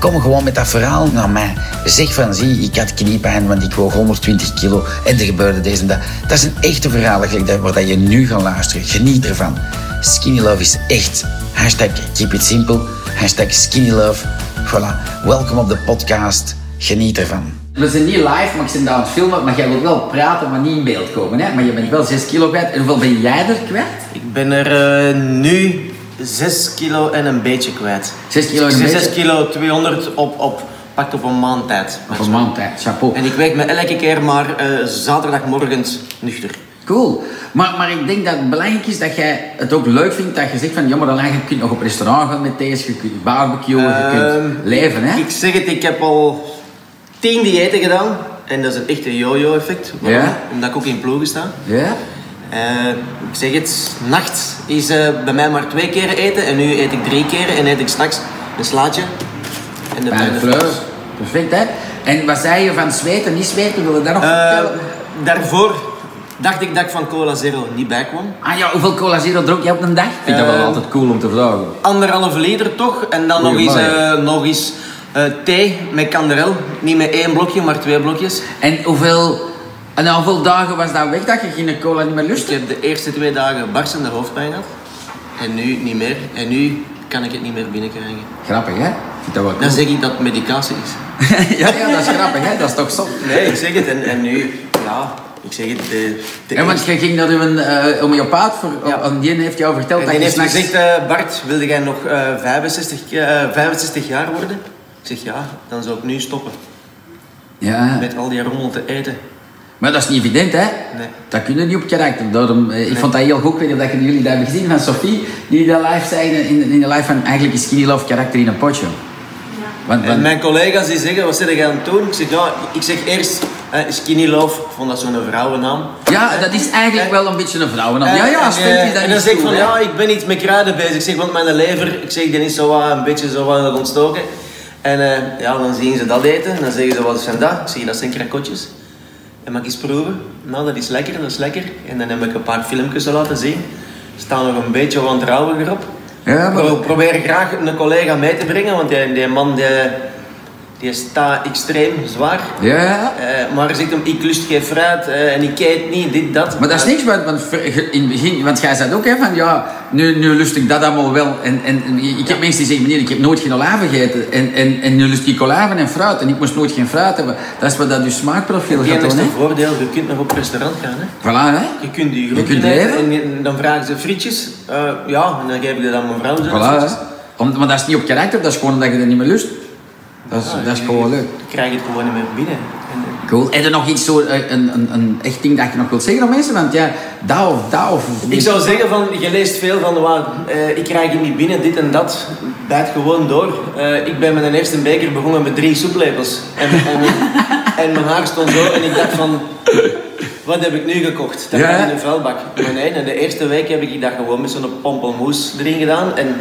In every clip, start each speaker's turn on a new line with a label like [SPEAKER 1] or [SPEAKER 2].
[SPEAKER 1] Kom gewoon met dat verhaal naar mij. Zeg van, zie, ik had kniepijn, want ik woog 120 kilo en er gebeurde deze en dat. Dat is een echte verhaal eigenlijk, dat- waar dat je nu gaat luisteren. Geniet ervan. Skinny Love is echt. Hashtag keep it simple. Hashtag skinny love. Voilà. Welkom op de podcast. Geniet ervan.
[SPEAKER 2] We zijn niet live, maar ik ben daar aan het filmen. Maar jij wilt wel praten, maar niet in beeld komen. Hè? Maar je bent wel 6 kilo kwijt. En hoeveel ben jij er kwijt?
[SPEAKER 3] Ik ben er eh, nu 6 kilo en een beetje kwijt.
[SPEAKER 2] 6 kilo en een
[SPEAKER 3] Zes- zes
[SPEAKER 2] beetje?
[SPEAKER 3] kilo 200 op, op, pakt op een maand tijd.
[SPEAKER 2] Of een maand, hè? Chapeau.
[SPEAKER 3] En ik werk me elke keer maar eh zaterdagmorgens nuchter.
[SPEAKER 2] Cool. Maar, maar ik denk dat het belangrijk is dat jij het ook leuk vindt dat je zegt van... Ja, maar dan, je kunt nog op restaurant gaan met deze. Je kunt barbecuen, je kunt
[SPEAKER 3] Ehm,
[SPEAKER 2] leven, hè?
[SPEAKER 3] Ik zeg het, ik heb al 10 diëten gedaan. En dat is een echte yo-yo-effect. Waarom?
[SPEAKER 2] Ja?
[SPEAKER 3] Omdat ik ook in ploegen sta.
[SPEAKER 2] Ja?
[SPEAKER 3] Eh, ik zeg het, nacht is eh, bij mij maar twee keer eten. En nu eet ik drie keer. En eet ik straks een slaatje. En de
[SPEAKER 2] Bij de
[SPEAKER 3] bruine
[SPEAKER 2] fleur.
[SPEAKER 3] fles.
[SPEAKER 2] Perfect, hè? En wat zei je van zweten, niet zweten? Wil je dat nog
[SPEAKER 3] Eh,
[SPEAKER 2] vertellen?
[SPEAKER 3] daarvoor dacht ik dat ik van Cola Zero niet bij kwam.
[SPEAKER 2] Ah ja, hoeveel cola zero dronk jij op een dag? Ik vind dat wel
[SPEAKER 3] Ehm,
[SPEAKER 2] altijd cool om te vragen.
[SPEAKER 3] Anderhalve liter toch? En dan nog
[SPEAKER 2] Goeie
[SPEAKER 3] eens,
[SPEAKER 2] man.
[SPEAKER 3] eh, nog eens eh, thee met kanderel. Niet met één blokje, maar twee blokjes.
[SPEAKER 2] En hoeveel, en na hoeveel dagen was dat weg dat je geen cola niet meer
[SPEAKER 3] Dus Ik
[SPEAKER 2] lustte?
[SPEAKER 3] heb de eerste twee dagen barstende hoofdpijn gehad. En nu niet meer. En nu kan ik het niet meer binnenkrijgen.
[SPEAKER 2] Grappig, hè? Ik vind dat wel
[SPEAKER 3] Dan
[SPEAKER 2] cool.
[SPEAKER 3] zeg ik dat het medicatie is.
[SPEAKER 2] ja, ja, dat is grappig, hè? Dat is toch zot.
[SPEAKER 3] Nee, ik zeg het. En, en nu, ja, ik zeg het. De, de
[SPEAKER 2] En want
[SPEAKER 3] eerste-
[SPEAKER 2] je ging naar uw eh homeopaat, voor,
[SPEAKER 3] Ja.
[SPEAKER 2] en die heeft jou verteld dat
[SPEAKER 3] En die
[SPEAKER 2] je
[SPEAKER 3] heeft
[SPEAKER 2] s'nachts...
[SPEAKER 3] gezegd, eh, Bart, wilde jij nog eh, 65, eh, 65 jaar worden? Ik zeg ja, dan zou ik nu stoppen.
[SPEAKER 2] Ja,
[SPEAKER 3] Met al die rommel te eten.
[SPEAKER 2] maar dat is niet evident, hè?
[SPEAKER 3] Nee.
[SPEAKER 2] Dat kun je niet op karakter. Daarom, eh, ik vond dat heel goed, ik weet niet of dat jullie dat hebben gezien van Sophie, die dat live zei in, in de live van eigenlijk is Skinny Love karakter in een potje. Want,
[SPEAKER 3] En
[SPEAKER 2] want
[SPEAKER 3] mijn collega's die zeggen, wat zit jij aan het doen? Ik zeg, ja, ik zeg eerst eh, Skinny Love, ik vond dat zo'n vrouwennaam.
[SPEAKER 2] ja, dat is eigenlijk wel een beetje een vrouwennaam. Ja, ja,
[SPEAKER 3] En,
[SPEAKER 2] stemt
[SPEAKER 3] eh,
[SPEAKER 2] is dat
[SPEAKER 3] En
[SPEAKER 2] niet
[SPEAKER 3] dan zeg ik
[SPEAKER 2] toe,
[SPEAKER 3] van,
[SPEAKER 2] hè?
[SPEAKER 3] ja, ik ben iets met kruiden bezig. Ik zeg, want mijn lever, ik zeg, die is zo wat, een beetje zo wat aan het ontstoken. En eh, ja, dan zien ze dat eten. En dan zeggen ze, wat zijn dat? Ik zeg, dat zijn krakotjes. En mag ik eens proeven? Nou, dat is lekker, dat is lekker. En dan heb ik een paar filmpjes al laten zien. Er staan nog een beetje wantrouwiger op.
[SPEAKER 2] Ja, maar-
[SPEAKER 3] Ik probeer graag een collega mee te brengen, want die, die man die, die staat extreem zwaar.
[SPEAKER 2] Ja,
[SPEAKER 3] Eh, maar hij zegt hem, ik lust geen fruit eh, en ik eet niet, dit, dat.
[SPEAKER 2] Maar dat is niks, want, want ver- in het begin, want jij zei ook hè, van ja, nu, nu lust ik dat allemaal wel. En, en, en ik heb mensen die zeggen, meneer, ik heb nooit geen olijven gegeten. En, en, en nu lust ik olijven en fruit en ik moest nooit geen fruit hebben. Dat is wat dat je smaakprofiel
[SPEAKER 3] Het
[SPEAKER 2] gaat doen,
[SPEAKER 3] enige
[SPEAKER 2] hè.
[SPEAKER 3] voordeel, je kunt nog op restaurant gaan. Hè?
[SPEAKER 2] Voilà, hè.
[SPEAKER 3] Je kunt die
[SPEAKER 2] Je
[SPEAKER 3] groenten
[SPEAKER 2] kunt
[SPEAKER 3] eten
[SPEAKER 2] leven.
[SPEAKER 3] en je- en dan vragen ze frietjes. Eh, ja, en dan geef ik dat aan mijn vrouw. Zo,
[SPEAKER 2] Voilà, hè.
[SPEAKER 3] frietjes.
[SPEAKER 2] Om, maar dat is niet op karakter, dat is gewoon omdat je dat niet meer lust. Dat is,
[SPEAKER 3] Ah, Ja,
[SPEAKER 2] dat is
[SPEAKER 3] je-
[SPEAKER 2] gewoon leuk.
[SPEAKER 3] Je krijgt het gewoon niet meer binnen. En, eh,
[SPEAKER 2] Cool. Heb je nog iets zo, eh, een, een, een echt ding dat je nog wilt zeggen aan mensen? Want ja, dat of dat of...
[SPEAKER 3] ik zou zeggen, van, je leest veel van, wauw, eh, ik krijg het niet binnen, dit en dat. Bijt gewoon door. Eh, ik ben met een eerste beker begonnen met drie soeplepels. En, en, en mijn haar stond zo en ik dacht van, wat heb ik nu gekocht? Dat
[SPEAKER 2] Ja,
[SPEAKER 3] gaat
[SPEAKER 2] hè?
[SPEAKER 3] in een vuilbak. Maar nee, na de eerste week heb ik dat gewoon met zo'n pompelmoes erin gedaan. En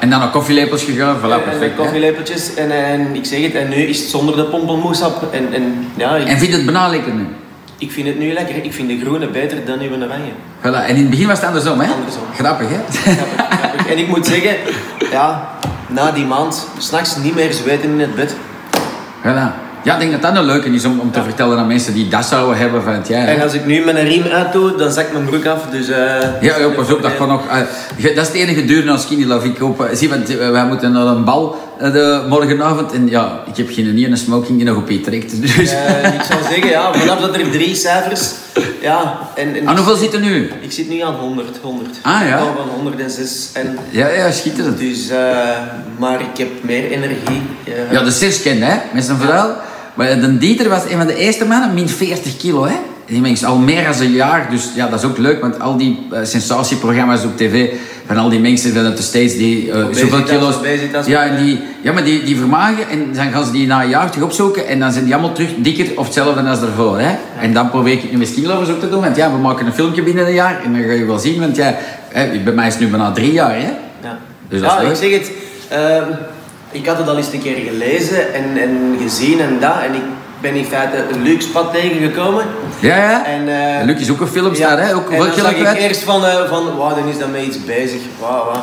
[SPEAKER 2] En dan nog koffielepels gegaan, voilà,
[SPEAKER 3] en met
[SPEAKER 2] perfect. hè.
[SPEAKER 3] koffielepeltjes en, en ik zeg het, en nu is het zonder de pompelmoesap. En, en ja, ik,
[SPEAKER 2] En vind je het bijna lekker nu?
[SPEAKER 3] ik vind het nu lekker. Ik vind de groene beter dan uw oranje.
[SPEAKER 2] Voilà, en in het begin was het andersom, hè?
[SPEAKER 3] Andersom.
[SPEAKER 2] Grappig, hè?
[SPEAKER 3] Grappig, grappig. En ik moet zeggen, ja, na die maand, s'nachts niet meer zweten in het bed.
[SPEAKER 2] voilà. Ja, ik denk dat dat een leuke is om, om te vertellen aan mensen die dat zouden hebben van het jaar. hè.
[SPEAKER 3] En als ik nu mijn riem uit doe, dan zakt mijn broek af. Dus, eh,
[SPEAKER 2] Ja, ja, pas op, dat kan nog... eh, ge- dat is het enige duur naar Skinny Love. Ik hoop... eh, Zie, want eh, wij moeten naar een bal eh, de, morgenavond. En ja, ik heb geen ene smoking die nog op je trekt. Dus...
[SPEAKER 3] eh, ik zou zeggen, ja, vanaf dat er drie cijfers. Ja, en, en
[SPEAKER 2] Aan hoeveel zitten nu?
[SPEAKER 3] ik zit nu aan 100. 100.
[SPEAKER 2] Ah, ja.
[SPEAKER 3] Ik hou van 106. En,
[SPEAKER 2] Ja, ja, schitterend.
[SPEAKER 3] dus, eh, maar ik heb meer energie. eh,
[SPEAKER 2] Ja, de Sirsken, hè? Met zijn verhaal. Maar de Dieter was een van de eerste mannen, min 40 kilo, hè? Die mensen al meer dan een jaar, dus ja, dat is ook leuk, want al die eh, sensatieprogramma's op tv van al die mensen vanuit de States die eh,
[SPEAKER 3] Obesitas,
[SPEAKER 2] zoveel kilo's.
[SPEAKER 3] obesitas.
[SPEAKER 2] Ja, en die, ja, maar die, die vermagen en dan gaan ze die na een jaar terug opzoeken en dan zijn die allemaal terug dikker of hetzelfde als daarvoor. Hè? En dan probeer ik het nu met skinlovers ook te doen, want ja, we maken een filmpje binnen een jaar en dan ga je wel zien, want ja, hè, bij mij is het nu bijna drie jaar. Hè?
[SPEAKER 3] Ja,
[SPEAKER 2] Dus dat is
[SPEAKER 3] ja
[SPEAKER 2] leuk.
[SPEAKER 3] ik zeg het. ehm, ik had het al eens een keer gelezen en, en gezien en dat. En ik ben in feite een leuk pad tegengekomen.
[SPEAKER 2] Ja, ja.
[SPEAKER 3] En, eh,
[SPEAKER 2] Luc is ook een filmster, hè? Ook
[SPEAKER 3] en
[SPEAKER 2] wel
[SPEAKER 3] dan zag ik
[SPEAKER 2] kwijt.
[SPEAKER 3] eerst van, eh, van wauw, dan is daarmee iets bezig. Wauw, wauw.